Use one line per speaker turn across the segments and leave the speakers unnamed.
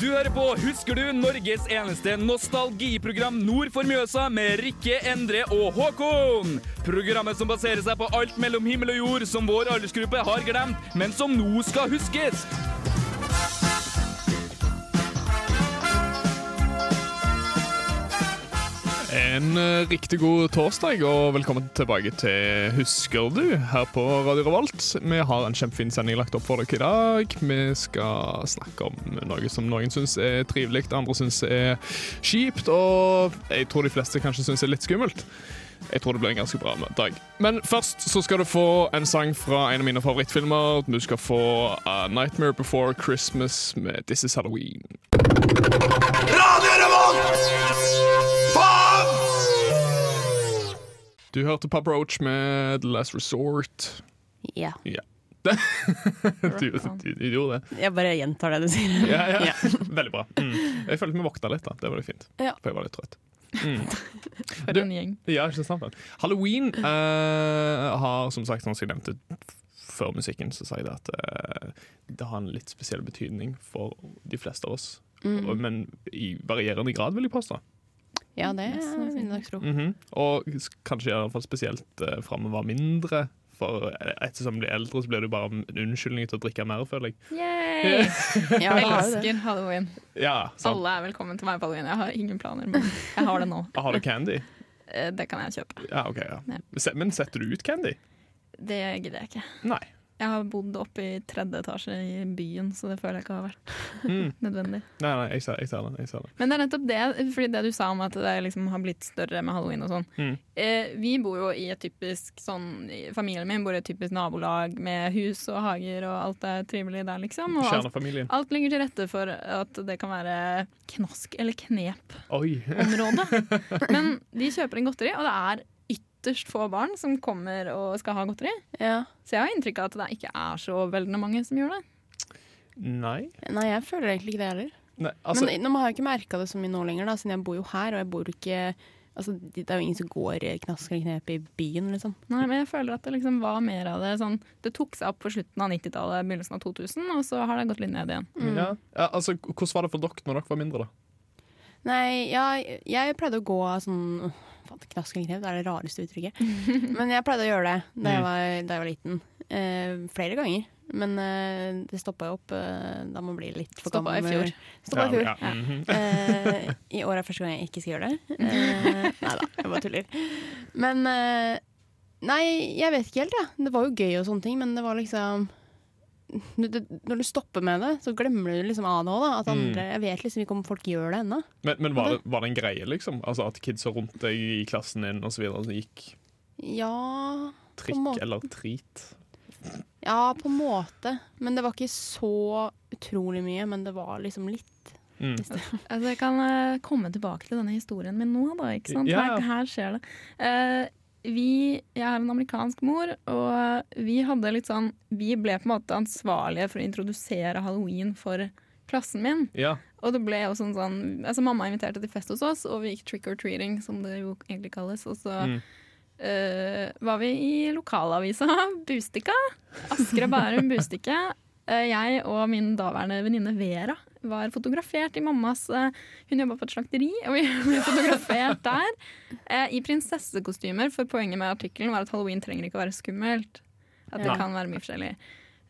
Du hører på Husker du? Norges eneste nostalgiprogram nord for Mjøsa med Rikke, Endre og Håkon. Programmet som baserer seg på alt mellom himmel og jord som vår aldersgruppe har glemt, men som nå skal huskes.
En eh, riktig god torsdag, og velkommen tilbake til Husker du? her på Radio Revolt. Vi har en kjempefin sending lagt opp for dere i dag. Vi skal snakke om noe som noen syns er trivelig, andre syns er kjipt, og jeg tror de fleste kanskje syns er litt skummelt. Jeg tror det blir en ganske bra dag. Men først så skal du få en sang fra en av mine favorittfilmer. Du skal få A Nightmare Before Christmas med This Is Halloween.
Radio Revolt! Faen!
Du hørte Papa Roach med The Last Resort.
Ja.
Ja. Du, du, du gjorde det.
Jeg bare gjentar det du sier.
Ja, ja.
Ja.
Veldig bra. Mm. Jeg følte vi våkna litt, da. Det var litt fint.
Ja.
For jeg var litt trøtt.
For
Du-
en gjeng.
Ja, ikke sant? men. Halloween eh, har, som sagt, som jeg nevnte før musikken, så sa jeg det at eh, det har en litt spesiell betydning for de fleste av oss. Og- Men i varierende grad, vil jeg påstå.
Ja, det
Nesten,
vil jeg nok tro.
Mhm. Og s- kanskje i hvert fall spesielt uh, framover mindre. For eh, ettersom du blir eldre, så blir det jo bare en unnskyldning til å drikke mer, føler jeg.
Ja,
Jeg
det har jo det.
elsker halloween.
Ja, sant.
Alle er velkommen til meg på halloween. Jeg har ingen planer, men jeg har det nå.
Har du candy?
Eh, Det kan jeg kjøpe.
Ja, ok, ja.
Ja.
Se- Men setter du ut candy?
Det gidder jeg ikke.
Nei.
Jeg har bodd oppe i tredje etasje i byen, så det føler jeg ikke har vært
Mm.
nødvendig.
Nei, nei, jeg ser, jeg ser det. Jeg ser det.
Men det er nettopp det, fordi det du sa om at det liksom har blitt større med halloween og sånn.
Mm.
Eh, vi bor jo i et typisk sånn Familien min bor i et typisk nabolag med hus og hager, og alt er trivelig der, liksom. Og
altså.
alt,
Kjernefamilien.
alt ligger til rette for at det kan være knask eller knep-område.
Oi.
Men de kjøper inn godteri, og det er ytterst få barn som kommer og skal ha godteri.
Ja.
Så jeg har inntrykk av at det ikke er så veldende mange som gjør det.
Nei.
Nei, jeg føler egentlig ikke det heller.
nei altså,
Men nå har jeg ikke merka det så mye nå lenger, da, siden jeg bor jo her. Og jeg bor ikke Altså, det er jo ingen som går knask eller knep i byen, liksom.
Nei, men jeg føler at det liksom var mer av det sånn Det tok seg opp på slutten av 90-tallet, begynnelsen av 2000, og så har det gått litt ned igjen.
mm.
ja. Ja, altså, k- hvordan var det for dere når dere var mindre, da?
Nei, ja, jeg pleide å gå av sånn faen, Knask eller knep, det er det rareste uttrykket. Men jeg pleide å gjøre det da jeg
Mm.
var, da jeg var liten. Eh, flere ganger. Men eh, det stoppa jo opp eh, da man blir litt for
Stoppet
gammel.
i fjor.
Stoppa i fjor.
Ja, ja. Mhm.
Eh, I år er første gang jeg ikke skal gjøre det. Eh, nei da, jeg bare tuller. Men eh, Nei, jeg vet ikke helt, jeg. Det var jo gøy og sånne ting, men det var liksom du- du- Når du stopper med det, så glemmer du liksom av det òg, da. At
Mm.
andre, jeg vet liksom ikke om folk gjør det ennå.
Men, men var, det, var det en greie, liksom? Altså At kidsa rundt deg i klassen din og så videre, så gikk
Ja På en
trikk
måte.
eller trit?
Ja, på en måte. Men det var ikke så utrolig mye. Men det var liksom litt.
Mm.
Altså, jeg kan eh, komme tilbake til denne historien min nå, da. Ikke sant?
Ja.
Her, her skjer det. Eh, vi, jeg har en amerikansk mor, og vi hadde litt sånn Vi ble på en måte ansvarlige for å introdusere halloween for klassen min.
Ja.
Og det ble jo sånn, sånn altså Mamma inviterte til fest hos oss, og vi gikk trick-or-treating, som det jo egentlig kalles. Og så
Mm.
eh, var vi i lokalavisa Bustika. Asker og Bærum Bustikke. Eh, jeg og min daværende venninne Vera var fotografert i mammas eh, Hun jobba på et slakteri, og vi ble fotografert der. eh, I prinsessekostymer, for poenget med artikkelen var at halloween trenger ikke å være skummelt. At det
Ja.
kan være mye forskjellig.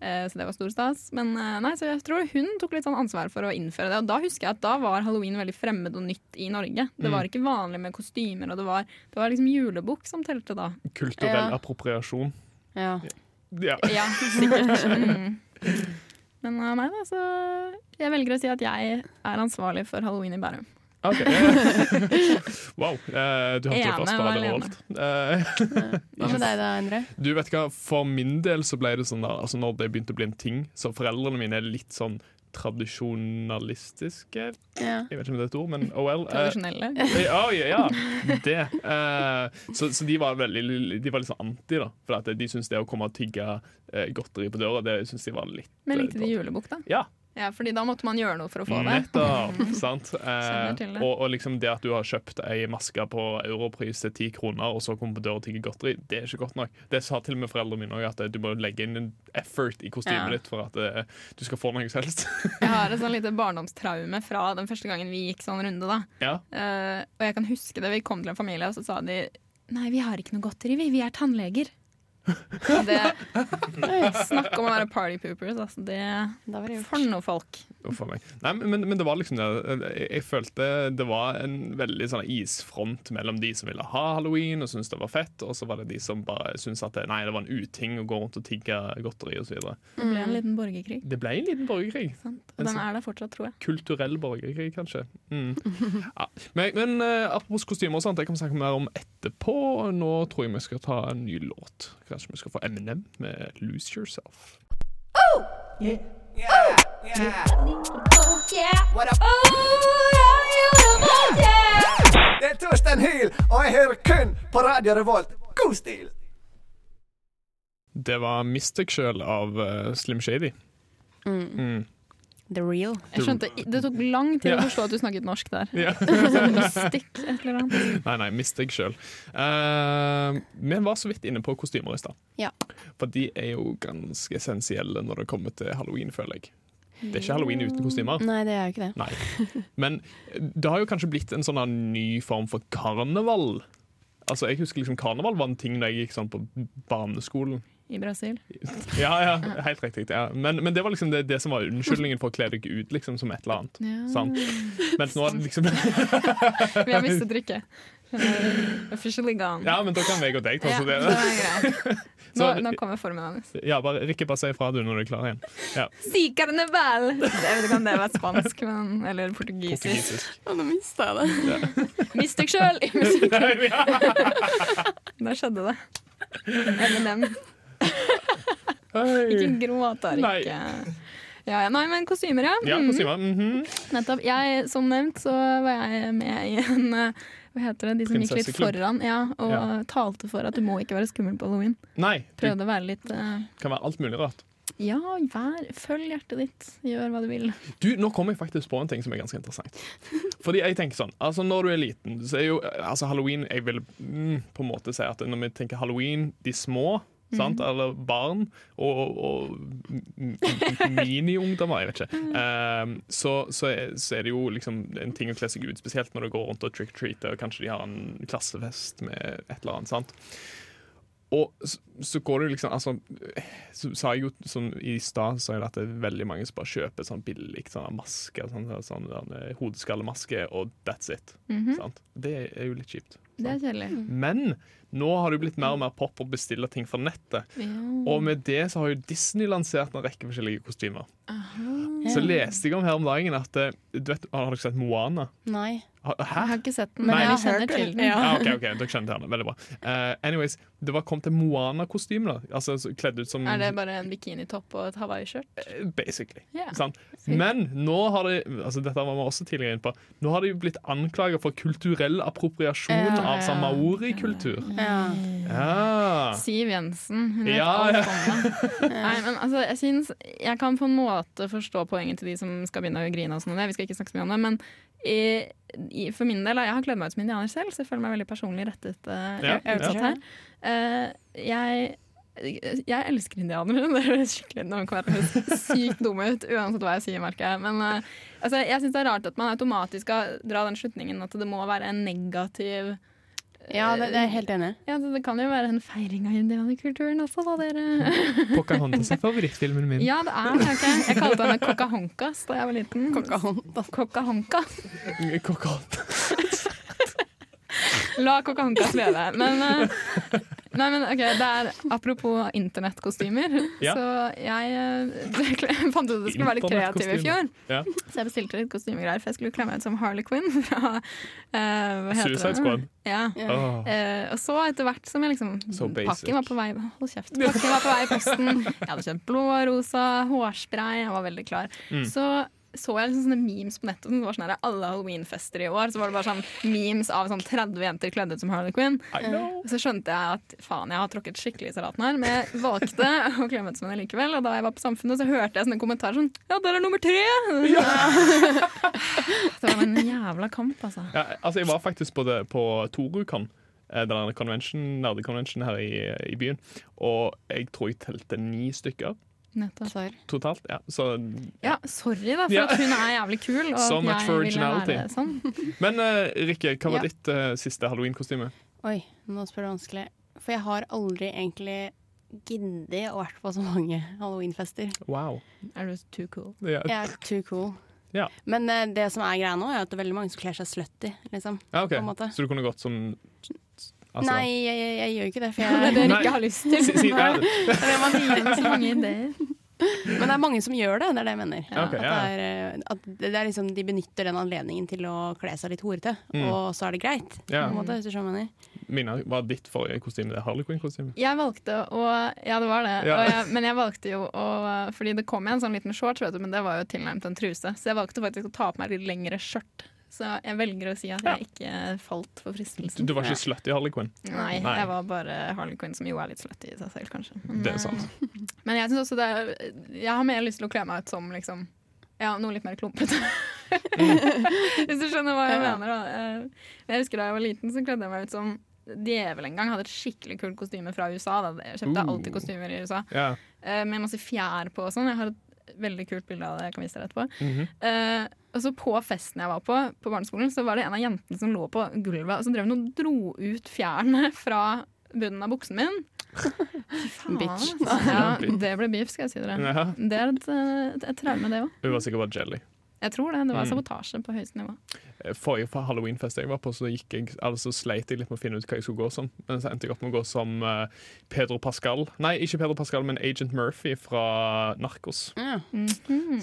Eh, Så det var stor stas. Men eh, nei, så jeg tror hun tok litt sånn ansvar for å innføre det. Og da husker jeg at da var halloween veldig fremmed og nytt i Norge. Det
Mm.
var ikke vanlig med kostymer, og det var, det var liksom julebukk som telte da.
Kulturell
Ja.
appropriasjon.
Ja.
Ja.
Ja, sikkert. Mm. Men eh, nei da, så jeg velger å si at jeg er ansvarlig for halloween i Bærum.
OK. wow. eh, du hørte det
Ene
først på Radio
var alene.
Revolt. Eh,
Hva med deg da, Endre?
Du vet hva, For min del så ble det sånn der altså Når det begynte å bli en ting Så foreldrene mine er litt sånn tradisjonalistiske Jeg
Ja.
vet ikke om det er et ord, men oh well eh,
Tradisjonelle.
ja, ja, ja, det eh, så, så de var veldig De var litt sånn anti da For at de syntes det å komme og tigge eh, godteri på døra Det syntes de var litt
Men
eh,
likte de
dårlig.
julebukk, da?
Ja,
Ja, fordi da måtte man gjøre noe for å få det.
Nettopp. sant?
Kjenner til det.
Eh, og, og liksom det at du har kjøpt ei maske på europris til ti kroner, og så kommer på døra og tigger godteri, det er ikke godt nok. Det sa til og med foreldrene mine òg, at eh, du må legge inn en effort i kostymet
Ja.
ditt for at eh, du skal få noe som helst.
Jeg har et sånn lite barndomstraume fra den første gangen vi gikk sånn runde. da.
ja.
Eh, og jeg kan huske det, vi kom til en familie, og så sa de Nei, vi har ikke noe godteri, vi. Vi er tannleger. Det, snakk om å være party poopers. Altså det,
Da var det
for
gjort.
noe folk.
Uff a meg. Nei, men, men det var liksom det. Jeg, jeg følte det var en veldig sånn isfront mellom de som ville ha halloween og syntes det var fett, og så var det de som bare syntes at det, nei, det var en uting å gå rundt og tigge godteri osv.
Det ble
Mm.
en liten borgerkrig.
Det ble en liten borgerkrig.
Sant? Og den er der fortsatt, tror jeg.
Kulturell borgerkrig, kanskje. Mm. Ja. Men, men eh, apropos kostymer og sånt, det kan vi snakke mer om etterpå. Nå tror jeg vi skal ta en ny låt. Kanskje vi skal få Eminem med 'Lose Yourself'.
Det er Torstein Hyl, og jeg hører kun på Radio Revolt. God stil!
Det var 'Mist deg sjøl' av eh, Slim Shady. Mm.
The real.
jeg skjønte, Det tok lang tid
Ja.
å forstå at du snakket norsk der.
Ja.
Sånn mystikk, et eller annet.
Nei, nei, mist deg sjøl. Eh, vi var så vidt inne på kostymer i stad.
Ja.
For de er jo ganske essensielle når det kommer til halloween, føler jeg. Det er ikke halloween uten kostymer.
Nei, det er jo ikke det.
Nei. Men det har jo kanskje blitt en sånn her ny form for karneval. Altså, Jeg husker liksom karneval var en ting da jeg gikk sånn på barneskolen.
I Brasil.
Ja, ja, helt riktig. Ja. Men, men det var liksom det, det som var unnskyldningen for å kle deg ut liksom som et eller annet.
Ja.
Sant? Mens nå er det liksom
Vi har mistet trykket. Den er Officially gone.
Ja, men da kan jeg og deg ta
Ja,
oss av
det
det.
var greit. Nå,
Så-
nå kommer formen hans.
Ja, bare, Rikke, bare si ifra du når du er klar igjen. Ja.
Si carnaval! Jeg vet ikke om det var spansk men, eller portugisisk.
Portugisisk.
Å, nå mista jeg det.
Mist deg sjøl! Da skjedde det. Eminem. Ikke gråt, da,
Nei.
Rikke. Ja, ja, nei, men kostymer, ja.
Ja,
Mhm.
kostymer. mhm.
Nettopp. Jeg, som nevnt, så var jeg med i en eh, Hva heter det? De som gikk litt
Prinsesseklubb.
foran. Ja, og
Ja.
talte for at du må ikke være skummel på halloween.
Nei, det
Prøvde å være litt eh,
kan være alt mulig rart.
Ja, vær, følg hjertet ditt. Gjør hva du vil.
Du, Nå kom jeg faktisk på en ting som er ganske interessant. Fordi jeg tenker sånn, altså Når du er liten, så er jo altså Halloween Jeg vil mm, på en måte si at når vi tenker halloween, de små Sant? Eller barn og, og m- m- miniungdommer, jeg vet ikke. Ehm, så, så, er, så er det jo liksom en ting å kle seg ut, spesielt når du går rundt og trick-treater, og kanskje de har en klassefest med et eller annet. sant? Og så, så går det liksom altså, Så sa jeg jo sånn, I stad sa jeg at det er veldig mange som bare kjøper sånn billig sånn maske, sånn, sånn, sånn, eh, hodeskallemaske, og that's it.
Mm.
sant? Det er jo litt kjipt.
Mhm. Det er kjedelig.
Men nå har det jo blitt mer og mer pop å bestille ting fra nettet.
Ja.
Og med det så har jo Disney lansert en rekke forskjellige kostymer. Så leste jeg om her om dagen at eh, du vet, Har dere sett Moana?
Nei.
Ha-
Jeg
Hæ?
har ikke sett den,
Men
men
jeg
jeg
har hørt
kjenner til
den.
den.
Ja, ok, ok, dere skjønte henne. Veldig bra. Eh, anyways, Det var kom til Moana-kostyme. da Altså så Kledd ut som
Er det bare en bikinitopp og et hawaiiskjørt?
Eh, Basically.
Ja.
Sant? Men nå har de altså dette var vi også tidligere inne på Nå har de jo blitt anklaget for kulturell appropriasjon
Ja,
av
ja.
sånn maori-kultur.
Ja.
Ja.
Siv Jensen. Hun vet
Ja,
alt
ja.
om det. Nei, men altså, jeg, synes, jeg kan på en måte forstå poenget til de som skal begynne å grine. og sånn, og det, Vi skal ikke snakke så mye om det. Men i, i, for min del, da, jeg har kledd meg ut som indianer selv, så jeg føler meg veldig personlig rettet. eh,
Ja,
jeg,
ja.
her. Eh, jeg, jeg elsker indianere. Det høres skikkelig nå kan jeg høres sykt dum ut, uansett hva jeg sier, merker jeg. Men eh, altså, jeg syns det er rart at man automatisk skal dra den slutningen at det må være en negativ
ja, det, det er jeg helt enig. i.
ja, så Det kan jo være en feiring av indianerkulturen også, da, dere.
Pocahontas er favorittfilmen min.
Ja, det er det. Okay. Jeg kalte henne Coca-Honcas da jeg var liten.
Pocahontas.
Coca-Honcas.
Pocahontas.
La Coca-Honcas leve. Men, eh, nei, men ok, det er Apropos internettkostymer.
Ja.
Så jeg eh, jeg fant ut at det skulle være litt kreativ i fjor.
Ja.
Så jeg bestilte litt kostymegreier, for jeg skulle kle meg ut som Harley Quinn fra eh, hva heter
Suicide
det?
Squad.
Ja.
Åh.
Eh, og så etter hvert som jeg liksom
So basic.
Pakken var på vei Hold kjeft. Pakken var på vei i posten. Jeg hadde kjøpt blå, rosa, hårspray. Jeg var veldig klar. Så så jeg liksom sånne memes på nettet. Det var sånn her, Alle halloweenfester i år Så var det bare sånn memes av sånn 30 jenter kledd ut som Harley Quinn.
I know.
Og så skjønte jeg at faen, jeg har tråkket skikkelig i salaten her, men jeg valgte å kle meg ut som henne likevel. Og da jeg var på Samfunnet, så hørte jeg sånne kommentarer sånn Ja, der er nummer tre! det var en jævla kamp, altså.
Ja, altså, jeg var faktisk på, det, på Torukon, eh, den andre convention, nerdekonvensjonen her i, i byen. Og jeg tror jeg telte ni stykker
Nettopp.
Svar.
totalt. Ja, så,
Ja, sorry, da, for
Ja.
at hun er jævlig kul, og
So
at
much
jeg
for
ville være
originality.
sånn.
men eh, Rikke, hva var
Ja.
ditt eh, siste halloweenkostyme?
Oi, nå spør du vanskelig. For jeg har aldri egentlig giddet å vært på så mange halloweenfester.
Wow.
Er du too cool?
Ja.
Jeg er too cool.
Ja.
Men eh, det som er greia nå, er at det er veldig mange som kler seg slutty, liksom.
Ja, ok.
på en måte.
Så du kunne gått som altså,
Nei, jeg, jeg, jeg gjør ikke det, for jeg
Det er det du
Nei.
ikke har lyst til.
Si, si, ja, det-
det er det man sier.
Så mange ideer.
Men det er mange som gjør det, det er det jeg mener.
Ja, ok,
at
ja.
det er, eh, at det det er liksom, de benytter den anledningen til å kle seg litt horete,
Mm.
og så er det greit. På
ja.
en måte, hvis du skjønner hva jeg mener.
Mina, var ditt forrige kostyme det Harley Quinn-kostyme?
Jeg valgte å Ja, det var det.
Ja.
Og jeg, men jeg valgte jo å Fordi det kom en sånn liten shorts, vet du, men det var jo tilnærmet en truse. Så jeg valgte faktisk å ta på meg litt lengre skjørt. Så jeg velger å si at jeg ikke falt for
Du,
fristelsen.
du var ikke sløtt i Harley Quinn.
Nei,
Nei.
jeg var bare Harley Quinn, som jo er litt slutty i seg selv, kanskje. Men,
Det er sant.
eh, men jeg synes også det er Jeg har mer lyst til å kle meg ut som liksom ja, noe litt mer klumpete. Hvis du skjønner hva jeg
Ja.
mener. Da. Eh, Jeg husker da jeg var liten, så kledde jeg meg ut som djevel en gang. Hadde et skikkelig kult kostyme fra USA. Da. Jeg kjøpte
Uh.
alltid kostymer i USA.
Ja.
Eh, med masse fjær på og sånn. Jeg har et veldig kult bilde av det jeg kan vise dere etterpå.
Mhm.
Eh, og så på festen jeg var på, på barneskolen, så var det en av jentene som lå på gulvet og så drev noen dro ut fjærene fra bunnen av buksen min. Fy faen. altså.
Bitch.
Ja, det ble beef, skal jeg si dere.
Ja.
Det er et, eh, et, et traume, det òg.
Hun var sikkert bare jelly.
Jeg tror det. Det var
Mm.
sabotasje på høyeste nivå.
Forrige for halloweenfest jeg var på, så, gikk jeg, altså, sleit jeg litt med å finne ut hva jeg skulle gå som. Men så endte jeg opp med å gå som eh, Pedro Pascal. Nei, ikke Pedro Pascal, men Agent Murphy fra Narkos.
Ja.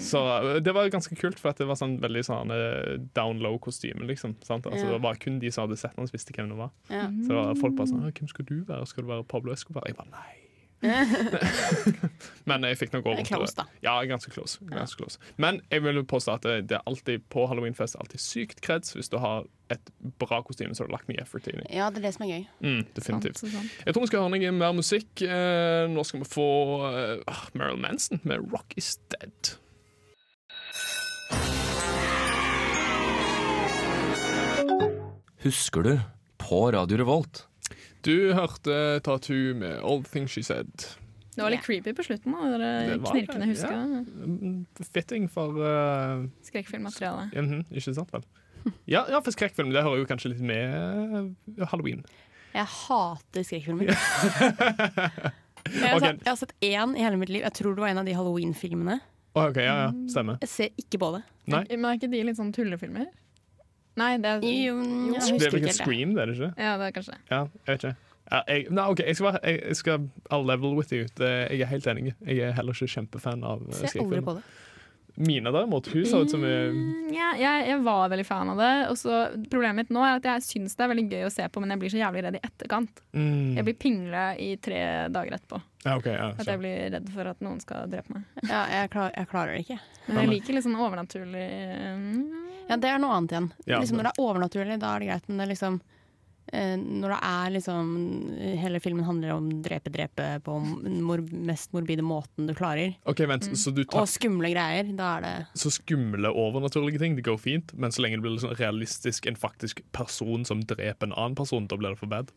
Så eh, det var ganske kult, for at det var sånn veldig sånn eh, down low-kostyme, liksom. Sant? Altså,
Ja.
Det var kun de som hadde sett hans visste hvem det var.
Ja.
Så det
Mm,
var folk bare sånn «Å, 'Hvem skal du være? Skal du være Pablo Escobar?' Jeg bare nei. Men jeg fikk nok
Det er
over
close, da.
Ja, ganske close. Ganske close. Men jeg vil påstå at det, det er alltid på halloweenfest alltid sykt kreds hvis du har et bra kostyme som du har lagt mye effort inn i.
Ja, det er det som er gøy.
Mm, definitivt.
Sant, sant.
Jeg tror vi skal høre noe mer musikk. Eh, Nå skal vi få eh, ah, Marilyn Manson med 'Rock Is Dead'.
Husker du? På Radio Revolt.
Du hørte Tattoo med 'All Things She Said'.
Det var litt creepy på slutten, da. Dere
Det var det,
knirkende huska.
Mm, Fitting for eh,
Skrekkfilmmateriale.
mhm, Ikke sant, vel? Ja, ja, for skrekkfilm det hører jo kanskje litt med eh, halloween.
Jeg hater skrekkfilmer. jeg, har
Ok.
sett- jeg har sett én i hele mitt liv. Jeg tror det var en av de halloween-filmene.
Å, OK, ja, ja, stemmer.
Jeg ser ikke på det.
Nei.
Men er ikke de litt sånn tullefilmer? Nei, det er,
Jo, jeg husker
Det er vel
ikke
ikke
helt det.
Scream, det er det ikke?
ja, det er kanskje det.
Ja, jeg vet ikke. Ja, jeg, nei, OK, jeg skal, være, jeg, jeg skal I'll level with you. Det, jeg er helt enig. Jeg er heller ikke kjempefan av eh,
Ser aldri
skrekkfilmer.
på det.
Mina, derimot, hun ser ut som eh,
Mm, ja, jeg, jeg var veldig fan av det. Og så Problemet mitt nå er at jeg syns det er veldig gøy å se på, men jeg blir så jævlig redd i etterkant.
mm.
Jeg blir pingle i tre dager etterpå.
Ja, OK. Ja,
At jeg
så.
blir redd for at noen skal drepe meg.
Ja, jeg, klar, jeg klarer det ikke.
Men jeg liker litt sånn overnaturlig mm,
Ja, Det er noe annet igjen.
Ja,
liksom,
det-
når det er overnaturlig, da er det greit. Men det er liksom eh, når det er liksom Hele filmen handler om drepe-drepe på den mor mest morbide måten du klarer.
OK, vent. Så du
Og
tar
skumle greier. Da er det
så skumle overnaturlige ting, det går fint, men så lenge det blir litt sånn realistisk en faktisk person som dreper en annen person, da blir det for bad.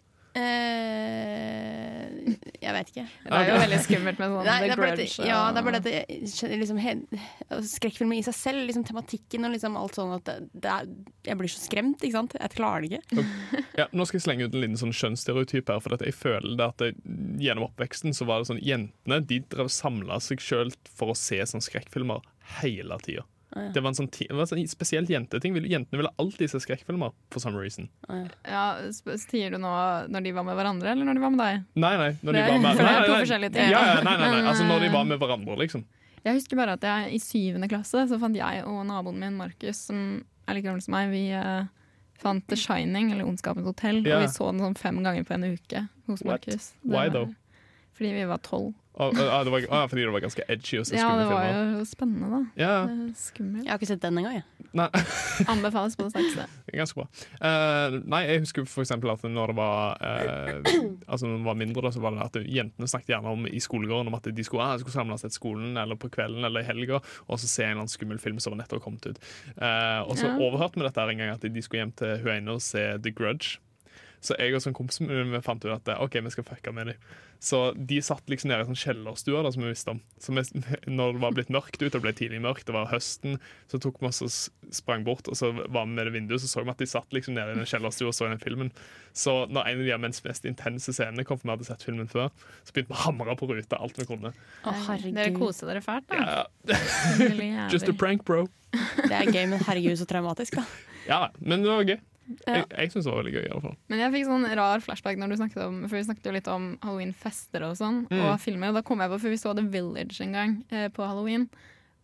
eh, Jeg vet ikke.
Det er jo veldig skummelt med sånn
Nei, det
The
er bare
Grudge.
dette, ja,
og-
det er bare dette jeg skjønner liksom, he- Skrekkfilmer i seg selv, liksom, tematikken og liksom alt sånn at det, det er, Jeg blir så skremt, ikke sant? Jeg klarer det ikke.
Ja, nå skal jeg slenge ut en liten sånn kjønnsstereotyp her, for at jeg føler det at det, gjennom oppveksten så var det sånn jentene de drev samla seg sjøl for å se sånn skrekkfilmer hele tida. Det var en sånn, ti- det var en sånn spesiell jenteting. Ville- Jentene ville alltid se skrekkfilmer for some reason.
ja, sp- Sier du nå når de var med hverandre, eller når de var med deg?
Nei, nei. Når de
Det er-
var med,
for det er
nei, nei,
to
nei.
forskjellige ting.
Ja, ja, nei, nei, nei. Altså, når de var med hverandre, liksom.
Jeg husker bare at jeg i syvende klasse så fant jeg og naboen min Markus, som er like gammel som meg, vi eh, fant The Shining, eller Ondskapens hotell,
Ja.
og vi så den sånn fem ganger på en uke hos
What?
Markus. Det
Why
var-
though?
Fordi vi var tolv.
Å, å, det var, å, fordi det var ganske edgy og så
Ja, det
skumle
var
filmer.
jo spennende, da.
Ja,
Eh, Skummelt.
Jeg har ikke sett den engang. jeg.
nei,
Anbefales på det sterkeste.
ganske bra. Eh, nei, jeg husker for eksempel at når det var eh, Altså når det var mindre, da, så var det at jentene snakket gjerne om i skolegården om at de skulle, ah, skulle samles etter skolen eller på kvelden eller i helga og så se en eller annen skummel film som var nettopp kommet ut. Eh, og så
Ja.
overhørte vi dette her en gang, at de skulle hjem til hun ene og se The Grudge. Så jeg og sånn kompis vi fant ut at eh, ok, vi skal fucke med dem. Så de satt liksom nede i sånn kjellerstua da, som vi visste om. Så vi, når det var blitt mørkt ute, det ble tidlig mørkt, det var høsten, så tok vi oss og s- sprang bort, og så var vi med det vinduet, så så vi at de satt liksom nede i den kjellerstua og så den filmen. Så når en av de her mens mest intense scenene kom, for vi hadde sett filmen før, så begynte vi å hamre på ruta alt vi kunne.
Å, herregud.
Dere koser dere fælt, da.
Ja,
Lille
just a
jævel.
prank, bro.
Det er gøy, men herregud, så traumatisk, da.
Ja, men det var gøy.
Ja.
Jeg, jeg syns det var veldig gøy, i alle fall.
Men jeg fikk sånn rar flashback når du snakket om For vi snakket jo litt om Halloween-fester og sånn,
Mm.
og filmer. Og da kom jeg på, for vi så The Village en gang eh, på halloween.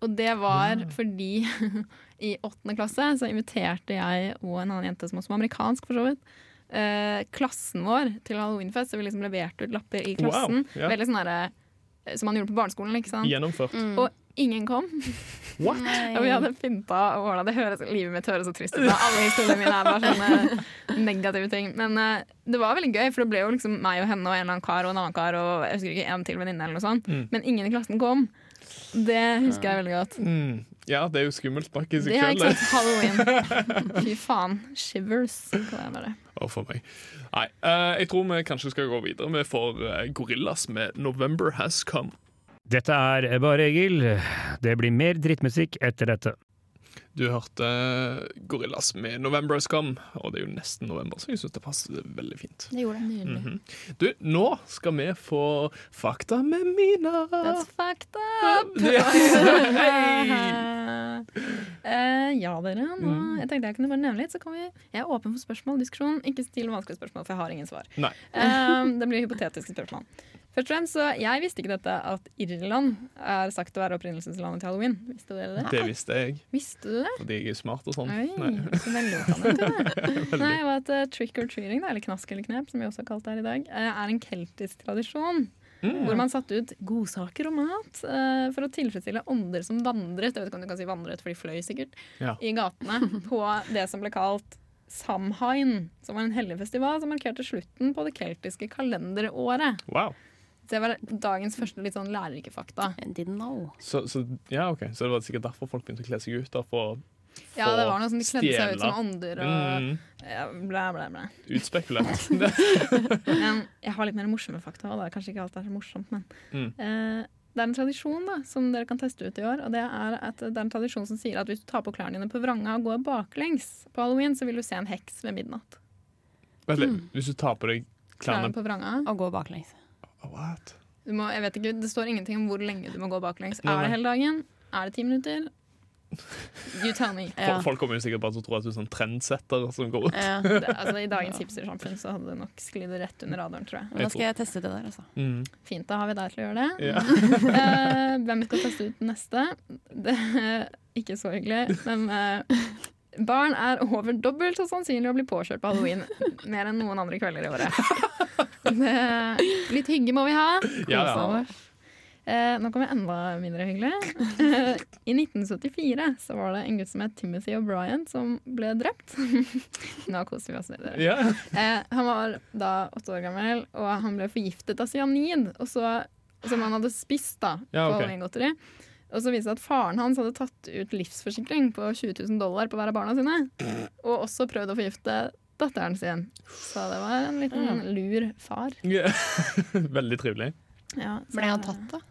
Og det var
Ah.
fordi i åttende klasse så inviterte jeg og en annen jente som også var amerikansk, for så vidt, eh, klassen vår til halloweenfest. Så vi liksom leverte ut lapper i
Wow,
klassen.
ja.
Veldig sånn derre eh, Som man gjorde på barneskolen, ikke sant.
Gjennomført.
Og ingen kom.
What?
Ja, vi
Eh,
hadde pynta og ordna. Det høres, livet mitt høres så trist ut. da. Alle historiene mine er bare sånne eh, negative ting. Men eh, det var veldig gøy, for det ble jo liksom meg og henne og en eller annen kar og en annen kar og jeg husker ikke en til venninne eller noe sånt. Men ingen i klassen kom. Det husker jeg veldig godt.
Mm. Mm. Ja, det er jo skummelt nok i seg
Det er
sjøl.
ikke sant halloween. Fy faen. Shivers. kaller jeg bare.
Å, for meg. Nei, eh, jeg tror vi kanskje skal gå videre. Vi får eh, Gorillas med 'November Has Come'.
Dette er Bare Egil. Det blir mer drittmusikk etter dette.
Du hørte eh, Gorillas med 'November Has Come', og det er jo nesten november, så jeg syns det passer veldig fint.
Det gjorde det.
Mhm. Du, nå skal vi få Fakta med Mina.
That's fucked up!
Det-
Eh, ja, dere. Nå,
Mm.
jeg tenkte jeg kunne bare nevne litt. Så kan vi, jeg er åpen for spørsmål og diskusjon. Ikke still vanskelige spørsmål, for jeg har ingen svar.
Nei.
Eh, det blir hypotetiske spørsmål. Først og fremst, så Jeg visste ikke dette at Irland er sagt å være opprinnelseslandet til halloween. Visste dere det?
Det visste jeg,
Visste du det?
fordi jeg er smart og sånn.
Oi,
Nei.
så velutdannet du er. Nei, og at eh, trick or treating, da, eller knask eller knep, som vi også har kalt det her i dag, eh, er en keltisk tradisjon.
Mm.
Hvor man satte ut godsaker og mat eh, for å tilfredsstille ånder som vandret, jeg vet ikke om du kan si vandret, for de fløy sikkert,
Ja.
i gatene på det som ble kalt Samhain, som var en hellig festival som markerte slutten på det keltiske kalenderåret.
Wow.
Så det var dagens første litt sånn lærerike fakta.
I Didn't know.
Så, så, ja, ok. så det var sikkert derfor folk begynte å kle seg ut. da, for å
Ja, det var noe som de kledde
stjele.
seg ut som ånder og
Mm,
ja, bla, bla, bla.
utspekulert.
Men jeg har litt mer morsomme fakta. Og det er kanskje ikke alt er så morsomt, men
Mm.
eh, Det er en tradisjon da, som dere kan teste ut i år. og Det er at det er en tradisjon som sier at hvis du tar på klærne dine på vranga og går baklengs på halloween, så vil du se en heks ved midnatt.
Vent litt, hvis du tar på deg klærne
Klærne på vranga.
Å gå baklengs.
What?
Du må, jeg vet ikke, Det står ingenting om hvor lenge du må gå baklengs.
Nei,
Er
nei.
det hele dagen? Er det ti minutter? You tell me.
Ja.
Fol- Folk kommer jo sikkert bare til å tro at du er sånn trendsetter som går ut.
Ja.
Det, altså, I dagens hipstersamfunn så hadde det nok sklidd rett under radaren, tror jeg.
Da skal jeg teste det der, altså.
Mm.
Fint, da har vi deg til å gjøre det.
Ja.
Eh, hvem skal teste ut neste? Det er ikke så hyggelig, men eh, barn er over dobbelt så sannsynlig å bli påkjørt på halloween mer enn noen andre kvelder i året. Det, litt hygge må vi ha. Kose
Ja, ja.
oss. Eh, nå kommer enda mindre hyggelig. Eh, I 1974 så var det en gutt som het Timothy O'Brien som ble drept. nå koser vi oss. Dere.
Ja.
Eh, han var da åtte år gammel, og han ble forgiftet av cyanid. Og så, som han hadde spist da,
Ja,
på
ok.
Halloween-godteri. Og så viste det seg at faren hans hadde tatt ut livsforsikring på 20 000 dollar på hver av barna sine. Og også prøvd å forgifte datteren sin. Så det var en liten lur far.
Ja. Veldig trivelig.
Ja, så-
Ble han tatt, da?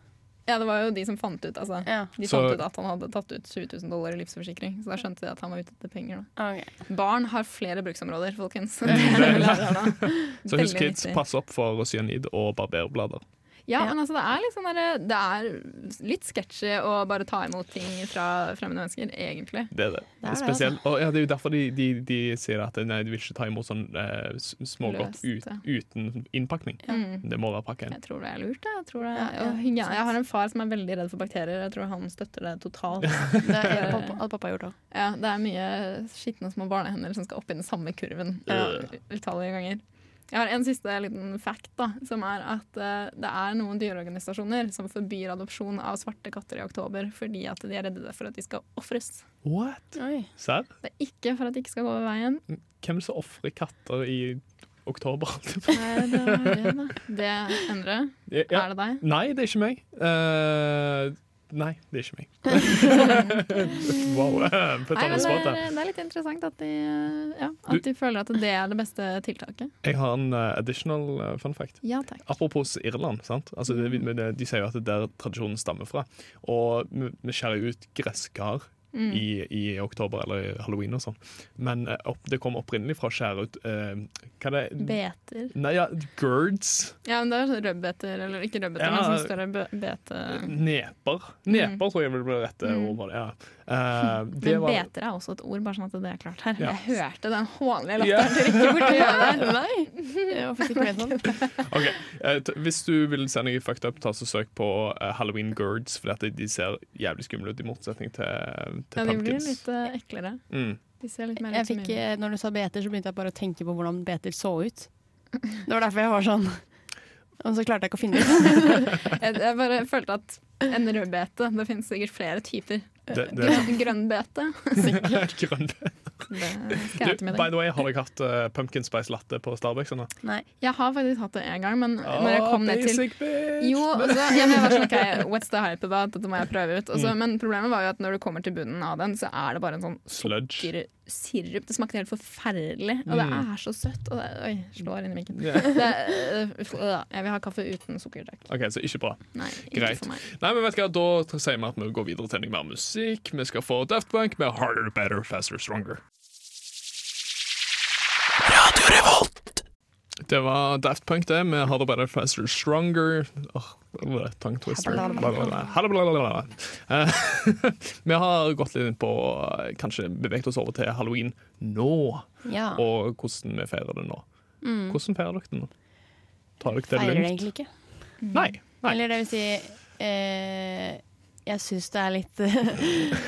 Ja, det var jo de som fant ut, altså.
Ja.
De
Så-
fant ut at han hadde tatt ut 20 000 dollar i livsforsikring. Så da skjønte de at han var ute etter penger. Da.
Ok.
Barn har flere bruksområder, folkens. Det er det vi lærer nå.
Så husk
Veldig
kids,
nyttig.
pass opp for cyanid og barberblader.
Ja,
Ja.
men altså det er litt sånn derre- Det er litt sketchy å bare ta imot ting fra fremmede mennesker, egentlig.
Det er det.
Det er det,
Spesielt, og ja, det er jo derfor de, de, de sier at nei, de vil ikke ta imot sånn eh, s- smågodt
Løst,
ut, uten innpakning.
Mm.
Det må være pakka inn.
Jeg tror det er lurt. Jeg, jeg, tror det
Ja,
er,
ja,
og
ikke
hygiene-
sant.
jeg har en far som er veldig redd for bakterier. Jeg tror han støtter det totalt.
Det er- pappa- hadde pappa gjort òg.
Ja, det er mye skitne små barnehender som skal opp i den samme kurven
Øh.
utallige ganger. Jeg har en siste liten fact, da, som er at eh, det er noen dyreorganisasjoner som forbyr adopsjon av svarte katter i oktober fordi at de er redde for at de skal ofres.
What?
Oi.
Serr?
Det er ikke for at de ikke skal gå over veien.
Hvem som ofrer katter i oktober?
Er det det, da? det Endre,
ja. ja.
er det deg?
Nei, det er ikke meg. Eh, nei, det er ikke meg. wow. eh, Putt on the
Nei, men det,
spot der.
er, det er litt interessant at de, eh, ja,
Du-
at de føler at det er det beste tiltaket.
Jeg har en eh, additional eh, fun fact.
Ja takk.
Apropos Irland. sant? Altså, det,
Mm.
men det, de sier jo at det er der tradisjonen stammer fra. Og vi, vi skjærer ut gresskar
Mm.
i, i oktober eller i halloween og sånn. Men eh, opp, det kom opprinnelig fra å skjære ut eh, Hva er det
Beter.
Nei, ja, Girds.
Ja, men det er sånn rødbeter, eller ikke rødbeter,
Ja.
men sånn større bø- bete.
Neper. Neper tror jeg vel blir det rette
Mm.
ordet. Ja. Eh, det
Men
var-
beter er også et ord, bare sånn at det er klart her.
Ja.
Jeg hørte den hånlige
Ja.
latteren til Rikke borti hjørnet.
Nei, jeg var faktisk ikke med sånn.
Ok, eh, t- Hvis du vil se noe fucked up, ta så søk på eh, Halloween Girds, for at de ser jævlig skumle ut, i motsetning til,
Ja,
til
de blir
pumpkins.
litt eh, eklere.
Mm.
De ser litt mer
Jeg
ut som
fikk,
mine.
eh, når du sa beter, så begynte jeg bare å tenke på hvordan beter så ut. Det var derfor jeg var sånn. Og så klarte jeg ikke å finne det ut.
eh, Jeg, jeg bare følte at en rødbete Det finnes sikkert flere typer.
Det, det,
Grønn, grønnbete.
Grønn.
Det skal jeg ha
Du,
til
by
middag.
the way, har dere hatt eh, pumpkin spice latte på Starbucks? Eller?
Nei.
Jeg har faktisk hatt det én gang, men
Ah,
når jeg kom ned til
basic bitch!
Jo, og så, ja, men jeg var sånn, ok, what's the hype about? Dette må jeg prøve ut. Og
Mm.
så- men problemet var jo at når du kommer til bunnen av den, så er det bare en sånn
Sludge.
sukkersirup. Det smakte helt forferdelig, og det er så søtt. Og det, oi, slår inn i minken.
Mm. Ja.
Det, øh, uff, øh, jeg vil ha kaffe uten sukker, takk.
OK, så ikke bra.
Nei, ikke
Greit.
for meg.
Nei, men vet du hva, Da t- sier vi at vi går videre til noe mer musikk. Vi skal få Daft Punk med 'Harder, Better, Faster, Stronger'. Det var Daft Punk, det, med 'Harder, Better, Faster, Stronger'. Åh, hva var det? Tongue twister. Blablabla. Blablabla. Eh, Vi har gått litt inn på eh, Kanskje beveget oss over til halloween nå,
Ja.
og hvordan vi feirer det nå. Hvordan feirer dere det nå? Tar dere
Mm. Feirer det
det
egentlig
lugnt?
ikke.
Nei. nei.
Eller det vil si eh, Jeg syns det er litt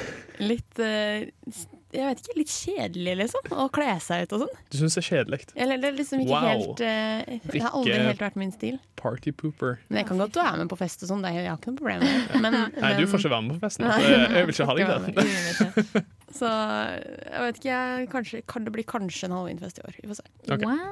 Litt eh, Jeg vet ikke, litt kjedelig, liksom. Å kle seg ut og sånn.
Du syns det er kjedelig?
Eller det er liksom ikke
Wow.
helt eh, Det har aldri
Rikke-
helt vært min stil.
Party pooper.
Men jeg kan godt være med på fest og sånn, det er- jeg har ikke noe problem med det. Men,
Nei, du får ikke være med på festen. Eh, Jeg vil ikke ha deg der.
Uinvitert.
Så jeg vet ikke, jeg, kanskje, kan det blir kanskje en halloweenfest i år. Vi får se.
Ok.
Wow.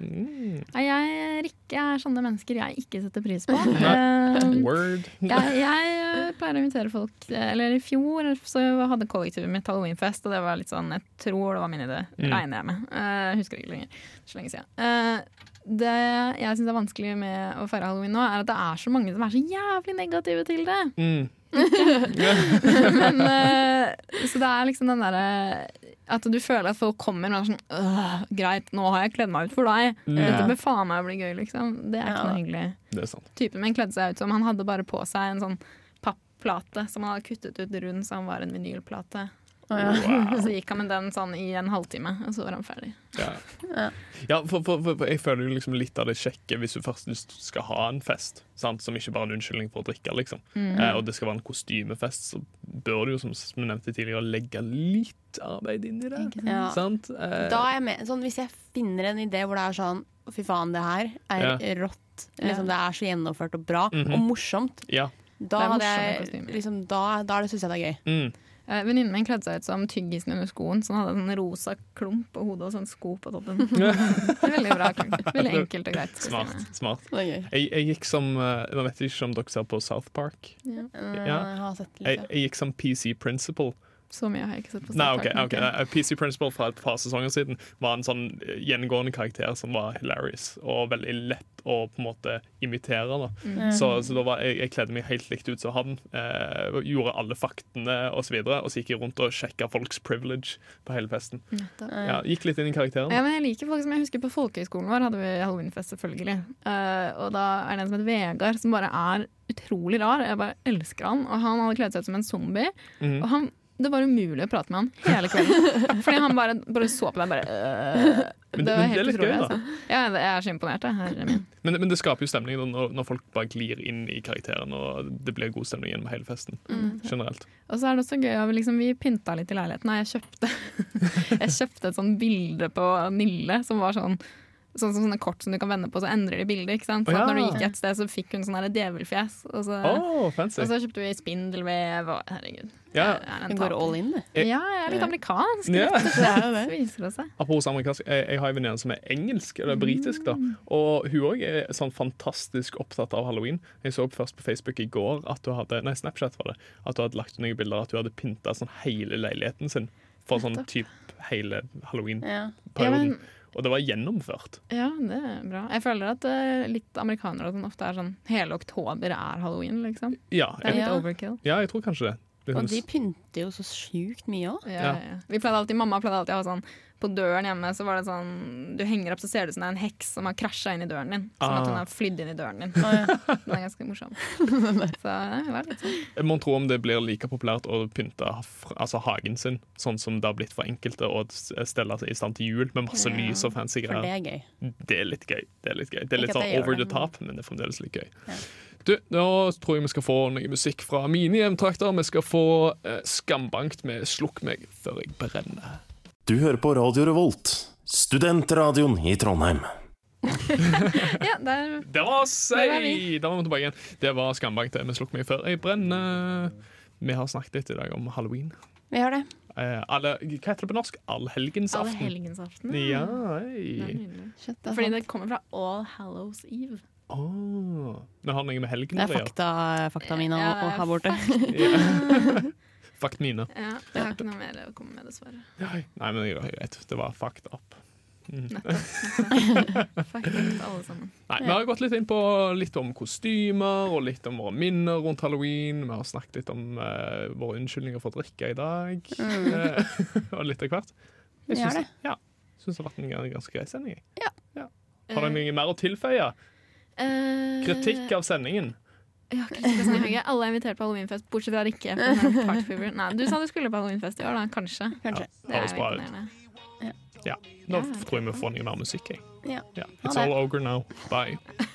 Mm.
Nei, Jeg, Rikke er sånne mennesker jeg ikke setter pris på. Eh,
Word.
jeg, jeg eh, pleier å invitere folk eh, Eller i fjor så hadde kollektivet mitt halloweenfest, og det var litt sånn Jeg tror det var min idé,
Mm.
regner jeg med. Eh, husker ikke lenger. Så lenge siden. Eh, det jeg syns er vanskelig med å feire halloween nå, er at det er så mange som er så jævlig negative til det.
Mm.
Men, eh, så det er liksom den derre At du føler at folk kommer og er sånn «Åh, Greit, nå har jeg kledd meg ut for deg. Dette bør faen meg bli gøy, liksom. Det er ikke
Ja.
noe hyggelig
Det er sant.
typen min kledde seg ut som. Han hadde bare på seg en sånn papplate som han hadde kuttet ut rund, så han var en vinylplate. Og så gikk han med den sånn i en halvtime, og så var han ferdig.
Ja, ja for, for, for, for jeg føler jo liksom litt av det kjekke hvis du først skal ha en fest, sant? som ikke bare er en unnskyldning for å drikke, liksom.
Mhm.
Eh, og det skal være en kostymefest, så bør du jo, som vi nevnte tidligere, legge litt arbeid inn i det.
Ja.
Sant? Eh,
Da er jeg med. Sånn, hvis jeg finner en idé hvor det er sånn «Å, Fy faen, det her er rått. Liksom, det er så gjennomført og bra
Mhm.
og morsomt.
ja.
Da,
Det er
hadde
morsomme
jeg,
kostymer.
liksom, da, da er det- syns jeg det er gøy.
Mm.
Eh, Venninnen min kledde seg ut som tyggisen under skoen, så han hadde en sånn rosa klump på hodet og sånn sko på toppen. Veldig bra klump. Veldig enkelt og greit.
Smart. smart.
Det er gøy.
Jeg, jeg gikk som eh, Jeg vet ikke om dere ser på South Park.
Eh,
Ja.
Jeg har sett litt,
Jeg,
ja.
jeg gikk som PC Principal.
Så mye har jeg ikke sett på
Nei,
South
ok,
Park, men
ok. Eh, PC Principal fra et par sesonger siden var en sånn eh, gjengående karakter som var hilarious og veldig lett å på en måte imitere. Da.
Mm,
Så, så da var, jeg, jeg kledde meg helt likt ut som han. Eh, og gjorde alle faktene og så, videre, og så gikk jeg rundt og sjekka folks privilege på hele festen.
Nettopp.
Ja, gikk litt inn i karakteren.
Mm. Ja, men jeg liker folk som jeg husker på folkehøyskolen vår hadde vi halloweenfest selvfølgelig. Eh, og da er det en som heter Vegard som bare er utrolig rar. Jeg bare elsker han. Og han hadde kledd seg ut som en zombie.
Mm.
Og han, det var umulig å prate med han hele kvelden. Fordi han bare, bare så på deg bare øh.
Men det- men
Det var
det er
helt
litt
utrolig.
gøy, da.
Altså. Ja, det- jeg er så imponert, jeg. Herre min.
Men, men det skaper jo stemning da, når, når folk bare glir inn i karakteren, og det blir god stemning gjennom hele festen.
Mm.
Generelt.
Og så er det også gøy at vi, liksom, vi pynta litt i leiligheten. og Jeg kjøpte, jeg kjøpte et sånn bilde på Nille som var sånn Sånn som sånne kort som du kan vende på, så endrer de bildet. ikke sant?
Å,
Sånn
ja.
at Når du gikk et sted, så fikk hun sånn her djevelfjes. Og, så-
Oh, fancy.
og så kjøpte vi spindelvev og Herregud.
Ja,
Altså, jeg er en
Hun går
taper.
all in, du.
Eh,
Ja, jeg er litt amerikansk.
Ja.
rett og slett, Så viser det seg.
Apropos amerikansk, jeg, jeg har en venninne som er engelsk, eller britisk, da.
Mm.
Og hun òg er sånn fantastisk opptatt av halloween. Jeg så først på Facebook i går at hun hadde Nei, Snapchat var det. At hun hadde lagt ut noen bilder at hun hadde pynta sånn hele leiligheten sin for sånn
Nettopp.
typ hele halloween-perioden.
Ja.
Ja, men,
Og det var gjennomført.
ja, det er bra. Jeg føler at eh, litt amerikanere og sånn ofte er sånn Hele oktober er halloween, liksom.
Ja,
Det er
jeg,
litt
Ja.
overkill.
ja, jeg tror kanskje det. det
Og de
høres-
pynter jo så sjukt mye òg.
Ja,
Ja.
ja. Vi pleide alltid, Mamma pleide alltid å ha sånn På døren hjemme så var det sånn Du henger opp, så ser det ut som det er en heks som har krasja inn i døren din. Som
Ah.
at hun har flydd inn i døren din. Den er ganske morsom. Så ja, det var litt sånn.
Jeg må tro om det blir like populært å pynte fr- altså hagen sin, sånn som det har blitt for enkelte å s- stelle seg i stand til jul med masse
Ja,
lys og fancy
For
greier.
det er gøy.
Det er litt gøy. Det er litt, gøy. Det er litt
Ikke at
sånn
jeg gjør
over the
det.
top, men det er fremdeles litt gøy. Du, Nå tror jeg vi skal få noe musikk fra mine hjemtrakter. Vi skal få eh, Skambankt med 'Slukk meg før jeg brenner'.
Du hører på Radio Revolt, studentradioen i Trondheim.
Ja, der
Det var
Der var
sei!
vi.
Da var vi tilbake igjen. Det var Skambankt det med 'Slukk meg før jeg brenner'. Vi har snakket litt i dag om halloween.
Vi har det.
Eh, alle, hva heter det på norsk? Allhelgensaften.
Allhelgensaften.
Ja,
Det er
ei.
nydelig.
Shit, det er
Fordi
sant.
det kommer fra All Hallows Eve.
Åh. Det har noe med helgen
Det
å
er
gjøre.
fakta, fakta mine å,
Ja,
å ha borte.
Fakt mine.
Ja, jeg har ikke noe mer å komme med, dessverre.
Nei, men det er greit. Det var fucked up.
Fuck it, alle sammen.
Nei, Vi har gått litt inn på litt om kostymer og litt om våre minner rundt halloween. Vi har snakket litt om eh, våre unnskyldninger for å drikke i dag. Eh, og litt av hvert.
Mm. Vi har
syns,
det.
ja, syns det har vært en gans- ganske grei sending. Jeg.
Ja.
Har
Eh.
dere noe mer å tilføye?
Eh,
Kritikk av sendingen?
Ja, kritikk altså, av Snø Hauge. Alle er invitert på halloweenfest, bortsett fra Rikke. for han er part fever. Nei, du sa du skulle på halloweenfest i år, da. Kanskje.
Kanskje.
Det er
Høres
jo
bra ut.
imponerende.
Nå
Ja.
tror jeg vi får noe mer musikk. Jeg.
Ja.
Ja. It's
Ha det.
all over now. Bye.